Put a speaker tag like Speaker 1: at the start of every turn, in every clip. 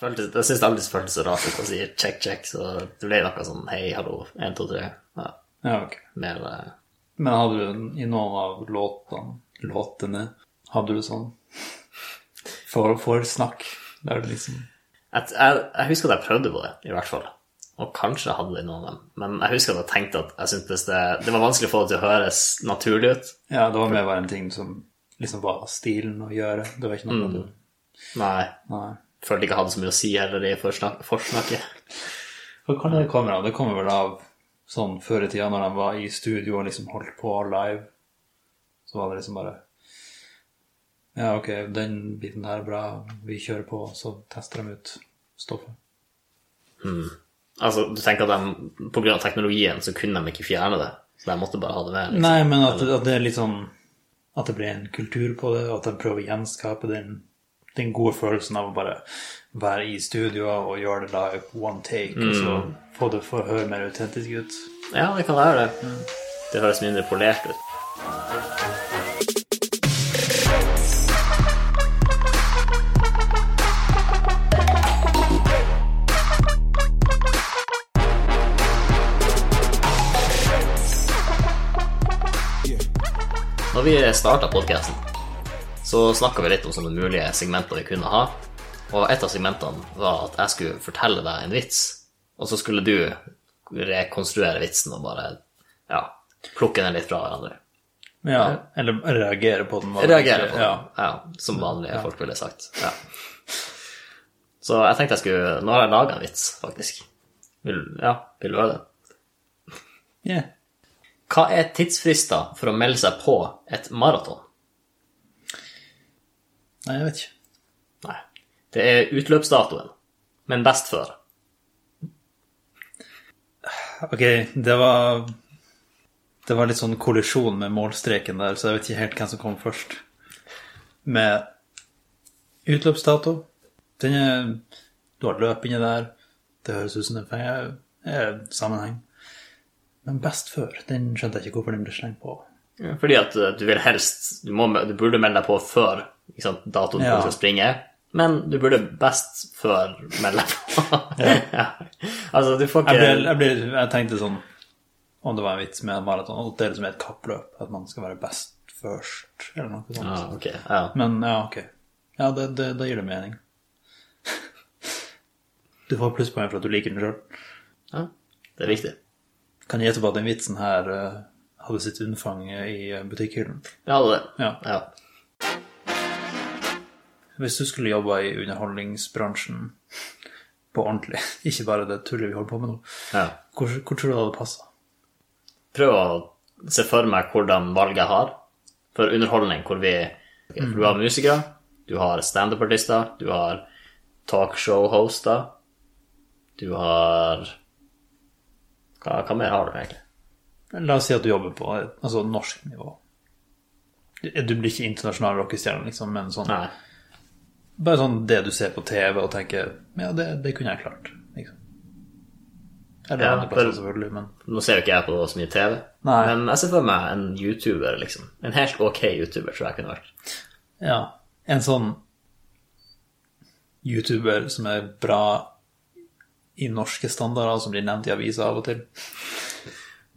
Speaker 1: føltes, jeg syns det alltid føltes så rart ut å si check, check, så det ble noe sånn hei, hallo, én, to, tre. Ja,
Speaker 2: Ja, ok.
Speaker 1: mer eh,
Speaker 2: Men hadde du i noen av låtene Låtene Hadde du sånn for, for snakk Der du liksom
Speaker 1: at jeg, jeg husker at jeg prøvde på det, i hvert fall. Og kanskje hadde det i noen av dem. Men jeg husker at jeg tenkte at jeg syntes det, det var vanskelig å få det til å høres naturlig ut.
Speaker 2: Ja, det var mer bare en ting som liksom var stilen å gjøre. Det var ikke noe du
Speaker 1: Nei,
Speaker 2: Nei.
Speaker 1: følte ikke jeg hadde så mye å si heller i forsnak forsnakket.
Speaker 2: Hvor kan det komme av? Det kommer vel av sånn før i tida når de var i studio og liksom holdt på live. Så var det liksom bare Ja, ok, den biten her er bra, vi kjører på, så tester de ut stoffet.
Speaker 1: Altså, du tenker at de, på grunn av teknologien så kunne de ikke fjerne det, så de måtte bare ha det med. Liksom.
Speaker 2: Nei, men at, at det er litt sånn At det blir en kultur på det, og at de prøver å gjenskape den, den gode følelsen av å bare være i studio og gjøre det live, one take, og så få det for å høre mer autentisk ut.
Speaker 1: Ja, det kan være det. Det høres mindre polert ut. Når vi starta podkasten, så snakka vi litt om sånne mulige segmenter vi kunne ha. Og et av segmentene var at jeg skulle fortelle deg en vits, og så skulle du rekonstruere vitsen og bare ja, plukke den litt fra hverandre.
Speaker 2: Ja, eller reagere på den. var det
Speaker 1: Reagere på
Speaker 2: egentlig.
Speaker 1: den, ja. som vanlige folk ville sagt. Ja. Så jeg tenkte jeg skulle Nå har jeg laga en vits, faktisk. Vil, ja, vil du høre den?
Speaker 2: Ja. Yeah.
Speaker 1: Hva er tidsfrister for å melde seg på et maraton?
Speaker 2: Nei, jeg vet ikke.
Speaker 1: Nei. Det er utløpsdatoen, men best før.
Speaker 2: Ok, det var Det var litt sånn kollisjon med målstreken der, så jeg vet ikke helt hvem som kom først. Med utløpsdato. Den er Du har løp inni der. Det høres ut som den fenger- er sammenheng. Men best før, den skjønte jeg ikke hvorfor den ble slengt på.
Speaker 1: Fordi at eh, du vil helst Du, må, du burde melde deg på før ikke sant, datoen
Speaker 2: Ja.
Speaker 1: du skal springe, men du burde best før melde deg på. ja. Altså, du får
Speaker 2: Jeg,
Speaker 1: ikke
Speaker 2: ble, jeg, ble, jeg tenkte sånn Om det var en vits med maraton, at det er liksom et kappløp. At man skal være best først, eller noe sånt.
Speaker 1: ja, Ah, ok, ja.
Speaker 2: Men ja, ok. Ja, det, det, da gir det mening. Du får plusspoeng for at du liker den sjøl.
Speaker 1: ja. Det er viktig.
Speaker 2: Kan jeg gjette på at den vitsen her eh, hadde sitt unnfang i eh, butikkhyllen?
Speaker 1: Ja, det er det.
Speaker 2: Ja.
Speaker 1: Ja.
Speaker 2: Hvis du skulle jobba i underholdningsbransjen på ordentlig, ikke bare det tullet vi holder på med nå,
Speaker 1: Ja.
Speaker 2: hvor, hvor tror du det hadde passa?
Speaker 1: Prøv å se for meg hvordan valget jeg har for underholdning, hvor vi ok, for Du har musikere, du har standup-artister, du har talkshow-hoster, du har hva, hva mer har du egentlig?
Speaker 2: La oss si at du jobber på et- altså, norsk nivå. Du du blir ikke internasjonal rockestjerne, liksom, men sånn,
Speaker 1: Nei.
Speaker 2: bare sånn det du ser på TV og tenker Ja, det, det kunne jeg klart. Liksom. Eller
Speaker 1: Ja,
Speaker 2: andre plasser,
Speaker 1: for-
Speaker 2: selvfølgelig, men
Speaker 1: Nå ser jo ikke jeg på så mye TV,
Speaker 2: Nei.
Speaker 1: men jeg ser for meg en YouTuber, liksom. En helt ok YouTuber, tror jeg kunne vært.
Speaker 2: Ja. En sånn YouTuber som er bra i norske standarder, som blir nevnt i aviser av og til.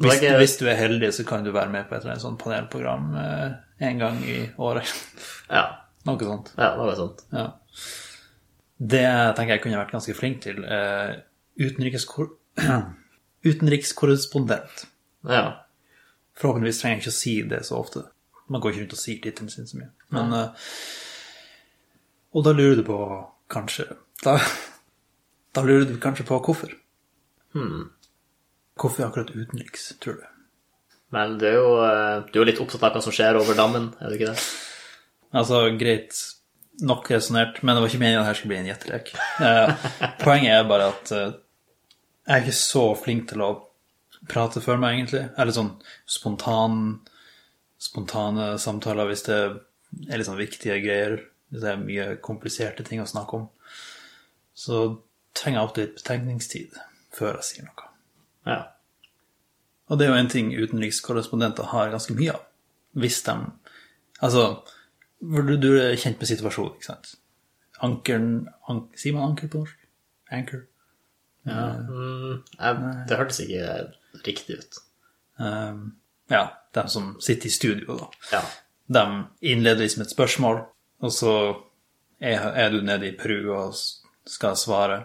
Speaker 1: Nå
Speaker 2: Hvis,
Speaker 1: er jeg,
Speaker 2: hvis du er heldig, så kan du være med på et eller annet sånt panelprogram eh, en gang i året.
Speaker 1: ja,
Speaker 2: Noe sånt.
Speaker 1: ja, noe sånt.
Speaker 2: Ja. Det tenker jeg kunne vært ganske flink til. Eh, utenrikskor utenrikskorrespondent.
Speaker 1: Ja.
Speaker 2: Forhåpentligvis trenger jeg ikke å si det så ofte. Man går ikke rundt og sier tittelen sin så mye. Men, eh, og da lurer du på kanskje da, da lurer du kanskje på hvorfor. Hvorfor akkurat utenriks, tror du?
Speaker 1: Men du er, jo, eh, du er jo litt opptatt av hva som skjer over dammen, er du ikke det?
Speaker 2: Altså, greit nok resonnert, men det var ikke meningen at dette skulle bli en gjettelek. Eh, poenget er bare at eh, jeg er ikke så flink til å prate for meg, egentlig. Eller sånn spontan, spontane samtaler hvis det er litt sånn viktige greier. Hvis det er mye kompliserte ting å snakke om. Så trenger jeg ofte litt betenkningstid før jeg sier noe.
Speaker 1: Ja.
Speaker 2: Og det er jo en ting utenrikskorrespondenter har ganske mye av. Hvis de Altså, for du, du er kjent med situasjonen, ikke sant? ankeren an, Sier man anker på norsk? Anchor.
Speaker 1: Mm, jeg, det hørtes ikke riktig ut.
Speaker 2: Ehm, ja, de som sitter i studio, da.
Speaker 1: Ja.
Speaker 2: De innleder liksom et spørsmål, og så er, er du nede i Peru og s- skal svare.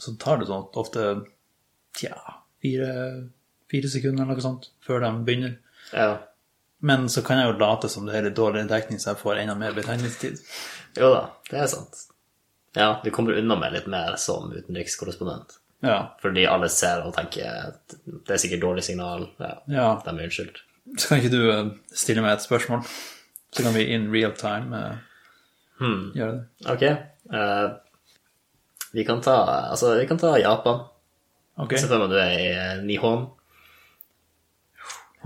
Speaker 2: Så tar det sånn ofte tja, fire, fire sekunder eller noe sånt før de begynner.
Speaker 1: ja.
Speaker 2: Men så kan jeg jo late som det er litt dårligere dekning, så jeg får enda mer betegningstid.
Speaker 1: Jo da, det er sant. Ja, du kommer unna med litt mer som utenrikskorrespondent.
Speaker 2: Ja.
Speaker 1: Fordi alle ser og tenker at det er sikkert dårlig signal. Ja,
Speaker 2: ja.
Speaker 1: De er unnskyldt.
Speaker 2: Så kan ikke du eh, stille meg et spørsmål? Så kan vi in real time eh,
Speaker 1: Hmm.
Speaker 2: gjøre det.
Speaker 1: Ok. eh, vi, kan ta, altså, vi kan ta Japan.
Speaker 2: Ok.
Speaker 1: Se for deg at du er i eh, Nihon.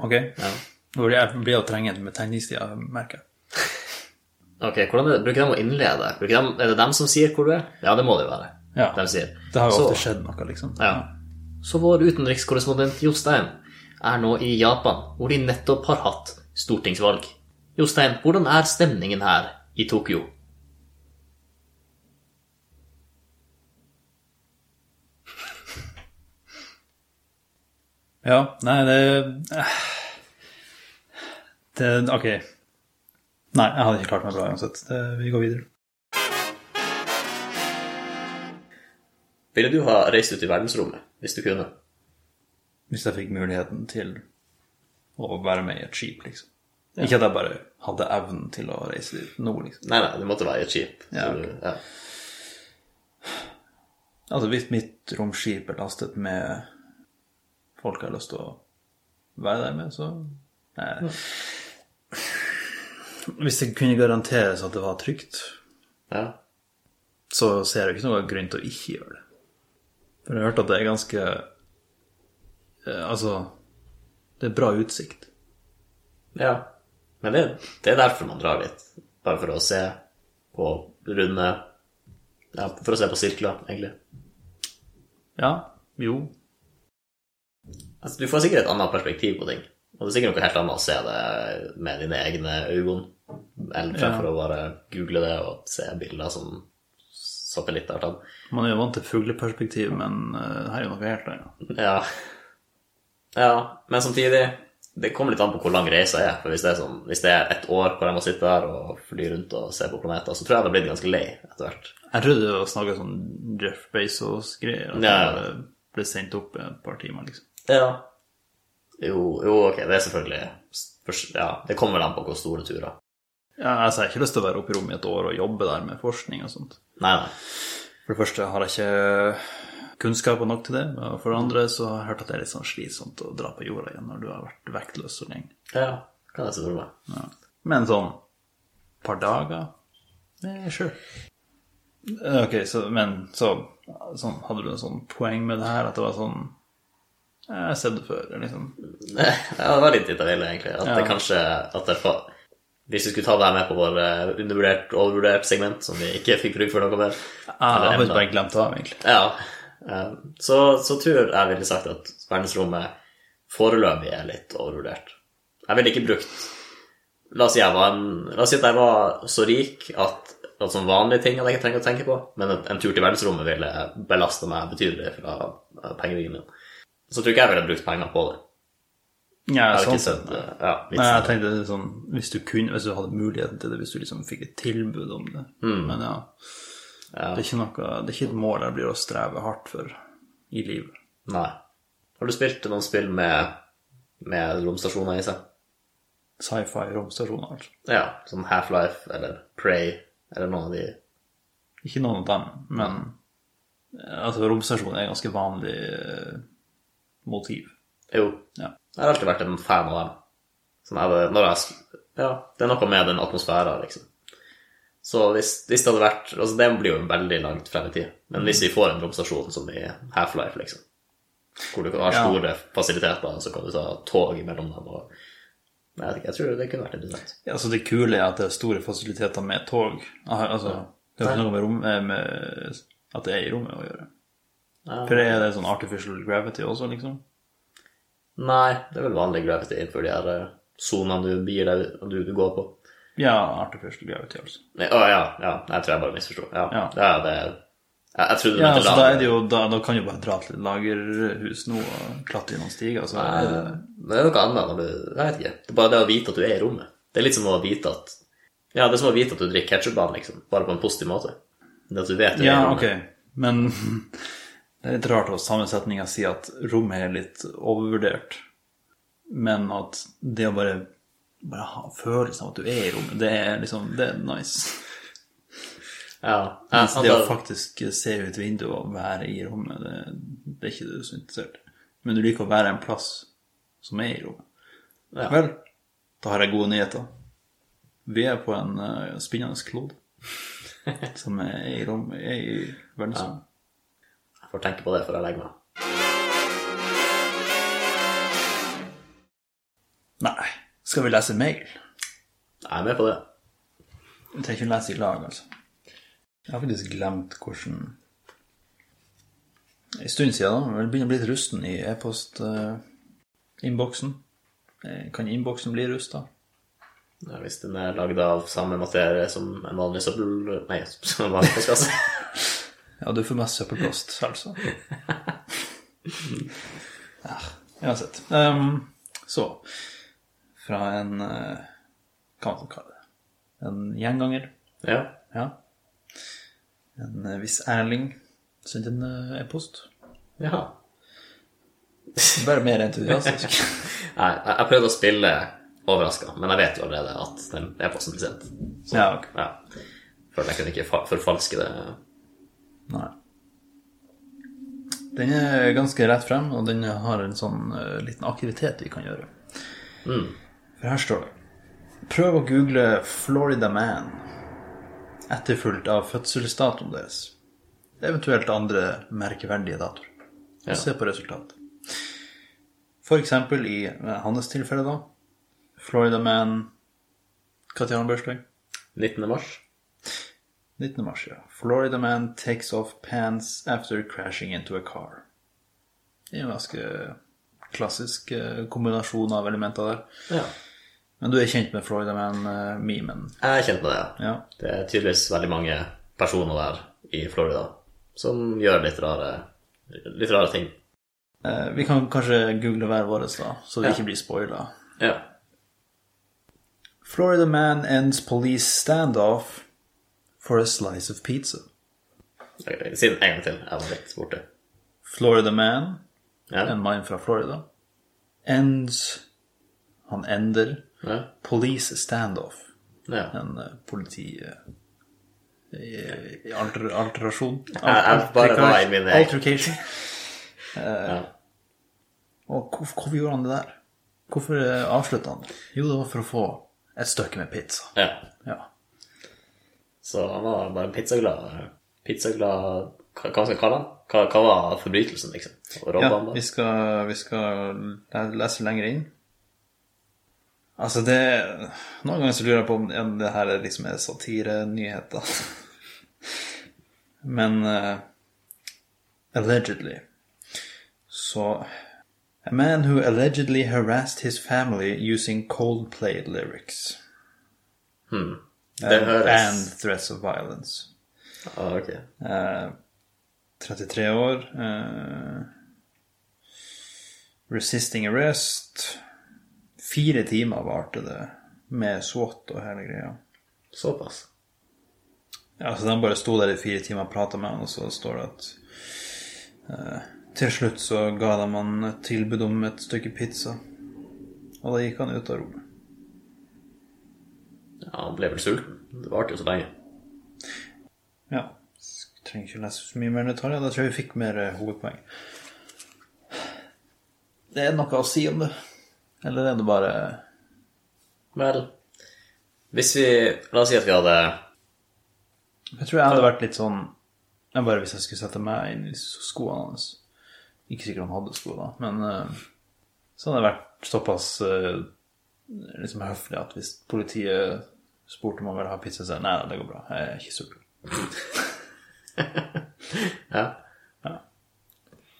Speaker 2: ok.
Speaker 1: Ja.
Speaker 2: Hvor jeg blir å trenge med tegningstida, merker jeg.
Speaker 1: Ok, hvordan er det? Bruker de å innlede? Bruker de, er det dem som sier hvor du er? Ja, det må det jo være.
Speaker 2: Ja.
Speaker 1: De sier.
Speaker 2: Det har jo
Speaker 1: Så-
Speaker 2: ofte skjedd noe, liksom.
Speaker 1: Ja. Så vår utenrikskorrespondent Jostein er nå i Japan, hvor de nettopp har hatt stortingsvalg. Jostein, hvordan er stemningen her i Tokyo?
Speaker 2: ja. Nei, det eh, Det Ok. Nei, jeg hadde ikke klart meg bra uansett. Det, vi går videre.
Speaker 1: Ville du ha reist ut i verdensrommet hvis du kunne?
Speaker 2: Hvis jeg fikk muligheten til å være med i et skip, liksom. Ikke at jeg bare hadde evnen til å reise dit nå, liksom.
Speaker 1: Nei, nei, det måtte være i et skip.
Speaker 2: Ja,
Speaker 1: Så du- ja.
Speaker 2: Altså, hvis mitt romskip er lastet med folk jeg har lyst til å være der med, så Nei. Hvis det kunne garanteres at det var trygt,
Speaker 1: ja.
Speaker 2: så ser jeg ikke noen grunn til å ikke gjøre det. For jeg har hørt at det er ganske eh, Altså, det er bra utsikt.
Speaker 1: ja. Men det, det er derfor man drar dit. Bare for å se på runde Ja, for å se på sirkler, egentlig.
Speaker 2: Ja, jo.
Speaker 1: Altså, du får sikkert et annet perspektiv på ting. Og det er sikkert noe helt annet å se det med dine egne øyne, eller fremfor å bare google det og se bilder som satellitter har tatt.
Speaker 2: Man er jo vant til fugleperspektiv, men eh, her er jo noe helt annet.
Speaker 1: Ja. ja, men samtidig Det kommer litt an på hvor lang reisa er. For hvis det er, sånn, hvis det er et år hvor jeg må sitte der og fly rundt og se på planeter, så tror jeg jeg hadde blitt ganske lei etter hvert.
Speaker 2: Jeg trodde det var snakka sånn Jeff Bezos-greier, at det
Speaker 1: Ja.
Speaker 2: bare ble sendt opp et par timer, liksom.
Speaker 1: Ja. Jo, jo, ok, det er selvfølgelig først- Ja, det kommer vel an på hvor store turer.
Speaker 2: Ja, altså, jeg har ikke lyst til å være oppe i rommet i et år og jobbe der med forskning og sånt.
Speaker 1: Nei, nei.
Speaker 2: For det første har jeg ikke kunnskaper nok til det, og for det andre så har jeg hørt at det er litt sånn slitsomt å dra på jorda igjen når du har vært vektløs så lenge.
Speaker 1: Ja, kan jeg se for meg.
Speaker 2: Ja. Men sånn par dager eh, Sure. Eh, Ok, så, men så sånn, hadde du en sånn poeng med det her, at det var sånn eh, Jeg har sett det før, eller liksom.
Speaker 1: Ja, det var litt dit jeg ville, egentlig. At det
Speaker 2: Ja.
Speaker 1: kanskje at det fa- Hvis vi skulle ta det her med på vår eh, undervurdert, overvurdert segment, som vi ikke fikk bruk for noe mer
Speaker 2: Jeg har
Speaker 1: Eller emne.
Speaker 2: bare glemt det av, egentlig.
Speaker 1: Ja. eh, Så, så tror jeg ville sagt at verdensrommet foreløpig er litt overvurdert. Jeg ville ikke brukt La oss si, jeg var en, la oss si at jeg var så rik at, at sånn vanlige ting hadde jeg ikke trengt å tenke på, men en, en tur til verdensrommet ville belasta meg betydelig fra eh, pengevigen min. Så tror ikke jeg ville brukt penger på det.
Speaker 2: Ja,
Speaker 1: Jeg hadde
Speaker 2: sånn
Speaker 1: ikke
Speaker 2: sett.
Speaker 1: sett eh, ja, litt
Speaker 2: Nei, jeg
Speaker 1: sånn.
Speaker 2: tenkte sånn, hvis du kunne, hvis du hadde muligheten til det, hvis du liksom fikk et tilbud om det. Men ja, det er ikke noe, det er ikke et mål jeg blir å streve hardt for i livet.
Speaker 1: Nei. Har du spilt noen spill med, med romstasjoner i seg?
Speaker 2: Sci-fi romstasjoner, altså.
Speaker 1: Ja, sånn Half-Life eller Prey eller noen av de
Speaker 2: Ikke noen av dem, men eh, altså, romstasjon er et ganske vanlig eh, motiv.
Speaker 1: Jo,
Speaker 2: Ja.
Speaker 1: jeg har alltid vært en fan av dem. Sånn er det når jeg s- Ja, det er noe med den atmosfæra, liksom. Så hvis, hvis det hadde vært Altså, det blir jo veldig langt frem i tid. Men hvis vi får en romstasjon som i Half-Life, liksom, hvor du kan ha
Speaker 2: Ja.
Speaker 1: store fasiliteter, så kan du ta tog imellom dem og Nei, jeg vet ikke, jeg tror det kunne vært interessant.
Speaker 2: Ja, altså, det kule er at det er store fasiliteter med tog. Ah, Altså, det har ikke noe med, rom, eh, med at det er i rommet å gjøre.
Speaker 1: Ja.
Speaker 2: For er det sånn artificial gravity også, liksom?
Speaker 1: Nei, det er vel vanlig gravity innenfor de her eh, sonene du, begir deg- du, du går på.
Speaker 2: Ja, Artificial Gravity, altså.
Speaker 1: Nei, Å ja, ja. Jeg tror jeg bare misforsto. Ja.
Speaker 2: Ja.
Speaker 1: Det er det Jeg, jeg trodde du
Speaker 2: Ja,
Speaker 1: mente
Speaker 2: altså, da, er
Speaker 1: lager.
Speaker 2: det jo, da, da kan du bare dra til et lagerhus nå og klatre gjennom stiger. Altså,
Speaker 1: Nei, Eh, Det er noe annet når du Jeg vet ikke. Det er bare det å vite at du er i rommet. Det er litt som å vite at Ja, det er som å vite at du drikker ketsjupbanen, liksom. Bare på en positiv måte. Det at du vet du er i
Speaker 2: Ja,
Speaker 1: rommet.
Speaker 2: ok. Men det er litt rart at sammensetninga sier at rommet er litt overvurdert. Men at det å bare, bare ha følelsen av at du er i rommet, det er liksom det er nice.
Speaker 1: Ja. Jeg,
Speaker 2: Mens det å
Speaker 1: antar-
Speaker 2: faktisk se ut vinduet og være i rommet, det, det er ikke du så interessert i. Men du liker å være en plass som er i rommet.
Speaker 1: Ja.
Speaker 2: Vel, da har jeg gode nyheter. Vi er på en eh, spinnende klode som er i, rom, er i verdensrommet.
Speaker 1: jeg får tenke på det før jeg legger meg.
Speaker 2: Nei. Skal vi lese mail?
Speaker 1: Jeg er med på det.
Speaker 2: Vi trenger ikke lese i lag, altså. Jeg har faktisk glemt hvordan En stund siden, da. Jeg begynner å bli litt rusten i e-post-innboksen. Eh, Kan innboksen bli rusta?
Speaker 1: Ja, Hvis den er lagd av samme materie som en vanlig søppel... Nei, som en vanlig altså. postkasse.
Speaker 2: Ja, du får mest søppelpost, altså. Ja, uansett. Ehm, så Fra en eh, Hva kan man kalle det? En gjenganger.
Speaker 1: ja.
Speaker 2: Ja. En eh, viss Erling sendte en eh, e-post.
Speaker 1: Jaha.
Speaker 2: Bare mer entusiastisk.
Speaker 1: Nei, jeg, jeg prøvde å spille overraska, men jeg vet jo allerede at den e-posten blir sendt.
Speaker 2: ja, ok.
Speaker 1: Ja. Føler jeg kunne ikke fa- forfalske det.
Speaker 2: Nei. Den er ganske rett frem, og den har en sånn eh, liten aktivitet vi kan gjøre. For her står det Prøv å google 'Florida Man', etterfulgt av fødselsdatoen deres. Eventuelt andre merkeverdige datoer.
Speaker 1: Ja.
Speaker 2: Se på resultatet. For eksempel i eh, hans tilfelle, da. Florida Man Når har han bursdag?
Speaker 1: 19. mars.
Speaker 2: 19. mars, ja. Florida man takes off pants after crashing into a car. Det er en ganske klassisk eh, kombinasjon av elementer der.
Speaker 1: Ja.
Speaker 2: Men du er kjent med Florida man-memen.
Speaker 1: Jeg er kjent med det.
Speaker 2: Ja.
Speaker 1: Det er tydeligvis veldig mange personer der i Florida som gjør litt rare, litt rare ting.
Speaker 2: Eh, Vi kan kanskje google hver vår, da, så vi
Speaker 1: Ja.
Speaker 2: ikke blir spoila.
Speaker 1: Ja.
Speaker 2: Florida man ends police standoff for a slice of pizza.
Speaker 1: Ok, Si det en gang til. Jeg var litt borte.
Speaker 2: Florida man,
Speaker 1: Ja.
Speaker 2: en mann fra Florida, ends Han ender
Speaker 1: Ja.
Speaker 2: police standoff.
Speaker 1: ja.
Speaker 2: en eh, politi... eh, i- i Alter, alterasjon.
Speaker 1: jeg bare var i min egen-
Speaker 2: Altercation. Eh, Og hvorfor, hvorfor gjorde han det der? Hvorfor eh, avslutta han det? Jo, det var for å få et stykke med pizza.
Speaker 1: ja.
Speaker 2: Ja.
Speaker 1: Så han var bare en pizzaglad Pizzaglad Hva hva skal jeg kalle han? Hva, hva var forbrytelsen, liksom? Å robbe
Speaker 2: ja
Speaker 1: han, da?
Speaker 2: vi, skal, vi skal le- lese lenger inn. Altså, det Noen ganger så lurer jeg på om om det her er liksom er satirenyheter. Men eh, allegedly så A man who allegedly harassed his family using Coldplay lyrics
Speaker 1: Det høres
Speaker 2: and threats of violence.
Speaker 1: ah, Ok.
Speaker 2: 33 år. eh, resisting arrest. Fire timer varte det med SWAT og hele greia.
Speaker 1: Såpass.
Speaker 2: Ja, så de bare sto der i fire timer og prata med han, og så står det at eh, Til slutt så ga de han et tilbud om et stykke pizza. Og da gikk han ut av rommet.
Speaker 1: Ja, han ble vel sulten. Det varte jo så lenge.
Speaker 2: Ja. Trenger ikke lese så mye mer detaljer. Da tror jeg vi fikk mer eh, hovedpoeng. Det er noe å si om det. Eller er det bare
Speaker 1: Vel Hvis vi La oss si at vi hadde
Speaker 2: Jeg tror jeg hadde vært litt sånn jeg Bare hvis jeg skulle sette meg inn i skoene hans Ikke sikkert han hadde sko, da, men eh, så hadde jeg vært såpass eh, liksom høflig at hvis politiet spurte om han ville ha pizza, så sa jeg nei, nei, det går bra, jeg er ikke sulten.
Speaker 1: Ja.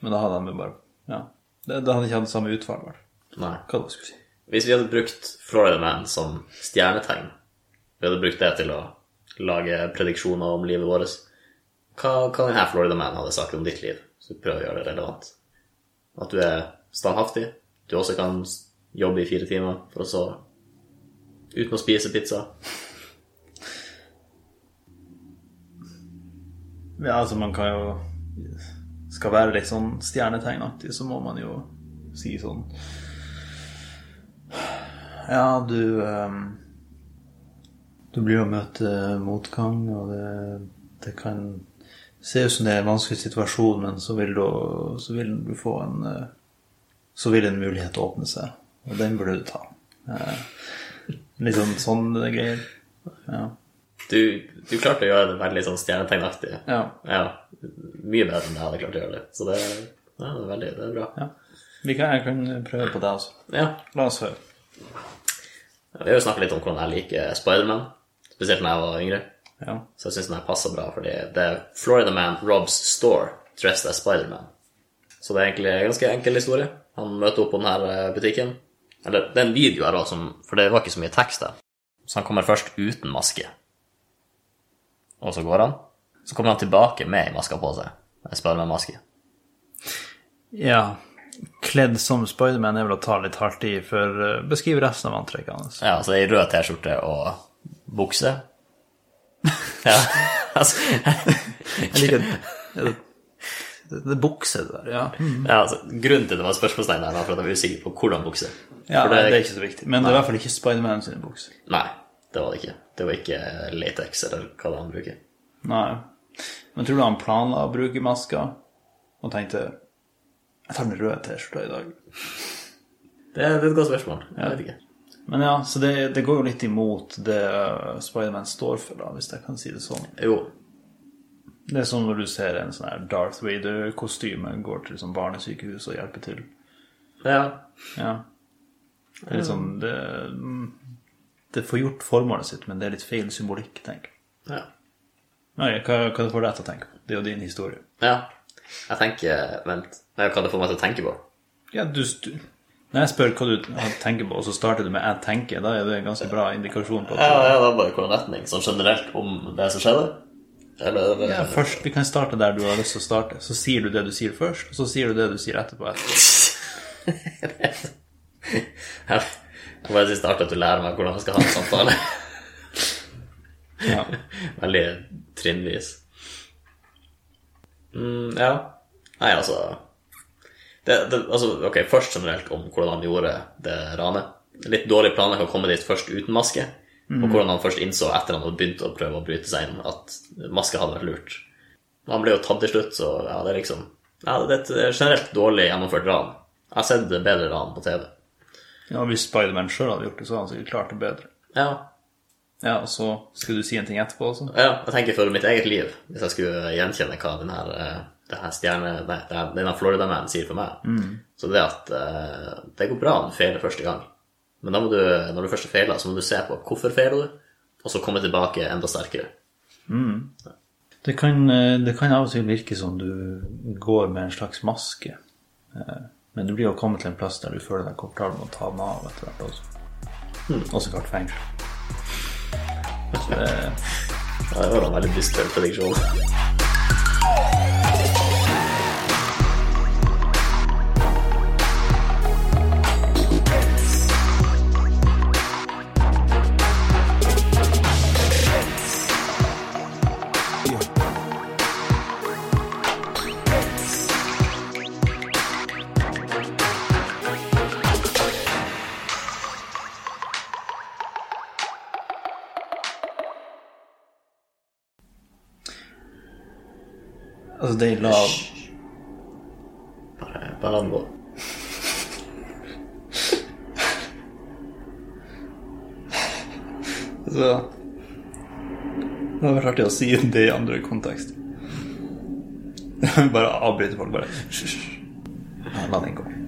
Speaker 2: Men da hadde han jo bare Ja. Det, da hadde han ikke hatt samme utfall, vel.
Speaker 1: Nei.
Speaker 2: Hva det skulle si.
Speaker 1: Hvis vi hadde brukt Florida Man som stjernetegn Vi hadde brukt det til å lage prediksjoner om livet vårt. Hva, hva denne Florida Man hadde sagt om ditt liv? Så prøv å gjøre det relevant. At du er standhaftig. Du også kan s- jobbe i fire timer for å sove. Uten å spise pizza.
Speaker 2: Ja, altså, man kan jo Skal være litt sånn stjernetegnaktig, så må man jo si sånn Ja, du ehm, Du blir å møte motgang, og det, det kan se ut som det er en vanskelig situasjon, men så vil du, så vil du få en eh, Så vil en mulighet åpne seg, og den burde du ta. Eh, Litt sånn sånne greier. Ja.
Speaker 1: Du, du klarte å gjøre det veldig sånn stjernetegnaktig.
Speaker 2: ja.
Speaker 1: Ja, mye bedre enn jeg hadde klart å gjøre det. Så det, ja, det er veldig det er bra.
Speaker 2: Ja. Vi kan, jeg kan prøve på det, altså.
Speaker 1: Ja.
Speaker 2: La oss høre.
Speaker 1: Vi har jo snakket litt om hvordan jeg liker Spiderman, spesielt da jeg var yngre.
Speaker 2: Ja.
Speaker 1: Så jeg syns den her passer bra, fordi det er Florida Man Robs Store, dressed as Spiderman. Så det er egentlig en ganske enkel historie. Han møter opp på denne butikken. Eller, det er en video her òg, for det var ikke så mye tekst der. Så han kommer først uten maske. Og så går han. Så kommer han tilbake med ei maske på seg. En Spiderman-maske.
Speaker 2: ja. Kledd som Spiderman er vel å ta litt hardt i, for eh, beskriv resten av antrekket hans.
Speaker 1: Ja, altså i rød T-skjorte og bukse. Ja, altså
Speaker 2: Jeg liker det, Mm. det, det bukset der, ja.
Speaker 1: ja, altså, Grunnen til det var spørsmålstegn der, var for at jeg var usikker på hvordan bukse.
Speaker 2: ja
Speaker 1: For
Speaker 2: det, er ikke så viktig. Men det er i hvert fall ikke Spiderman sine bukser.
Speaker 1: Nei, det var det ikke. Det var ikke latex eller hva det er han bruker.
Speaker 2: Nei. Men tror du han planla å bruke maska, og tenkte jeg tar den røde T-skjorta i dag.
Speaker 1: Det er det er et godt spørsmål. Jeg vet ikke.
Speaker 2: Men ja, så det, det går jo litt imot det eh, Spiderman står for, da, hvis jeg kan si det sånn.
Speaker 1: Jo,
Speaker 2: Det er som når du ser en sånn her Darth Vader-kostyme går til sånn barnesykehus og hjelper til.
Speaker 1: ja.
Speaker 2: Ja. Det er litt sånn Det, mm, det får gjort formålet sitt, men det er litt feil symbolikk, tenk.
Speaker 1: ja.
Speaker 2: Nei, hva, hva får deg til å tenke på? Det er jo din historie.
Speaker 1: Ja. Jeg tenker Vent, Nei, hva det får meg til å tenke på?
Speaker 2: Ja, du, stu- Når jeg spør hva du tenker på, og så starter du med 'jeg tenker', da er det en ganske bra indikasjon på at
Speaker 1: Ja, ja, det er bare hvordan retning, sånn generelt, om det som skjedde. Eller
Speaker 2: ja, først, Vi kan starte der du har lyst til å starte. Så sier du det du sier først, og så sier du det du sier etterpå. etterpå.
Speaker 1: Jeg jeg bare syns det er artig at du lærer meg hvordan man skal ha en sånn samtale.
Speaker 2: Ja.
Speaker 1: Veldig trinnvis. Mm, ja. Nei, altså, det, det, altså Ok, først generelt om hvordan han gjorde det ranet. Litt dårlig planlagt å komme dit først uten maske. Og hvordan han først innså etter han hadde begynt å prøve å bryte seg inn, at maske hadde vært lurt. Han ble jo tatt til slutt, så ja, det er liksom ja, Det er et generelt dårlig gjennomført ran. Jeg har sett bedre ran på TV.
Speaker 2: Ja, hvis Spiderman sjøl hadde gjort det, så hadde han sikkert klart det bedre.
Speaker 1: Ja,
Speaker 2: Ja, og så skal du si en ting etterpå også?
Speaker 1: Ja, jeg tenker for mitt eget liv, hvis jeg skulle gjenkjenne hva den her, eh, det her stjerne... Nei, det her- denne Florida-mannen sier for meg. Så det at eh, det går bra om du feiler første gang. Men da må du, når du først feiler, så må du se på hvorfor feiler du, og så komme tilbake enda sterkere.
Speaker 2: Det kan, eh, det kan av og til virke som du går med en slags maske. Eh, Men du blir jo kommet til en plass der du føler deg komfortabel med å ta den av etter hvert også. Også klart fengsel.
Speaker 1: Ja, det var da en veldig dyster prediksjon.
Speaker 2: Altså, de la
Speaker 1: Bare, bare la den gå.
Speaker 2: altså, Det hadde vært artig å si det i andre kontekst. Bare avbryte folk, bare. Hysj, hysj. Ja, La den gå.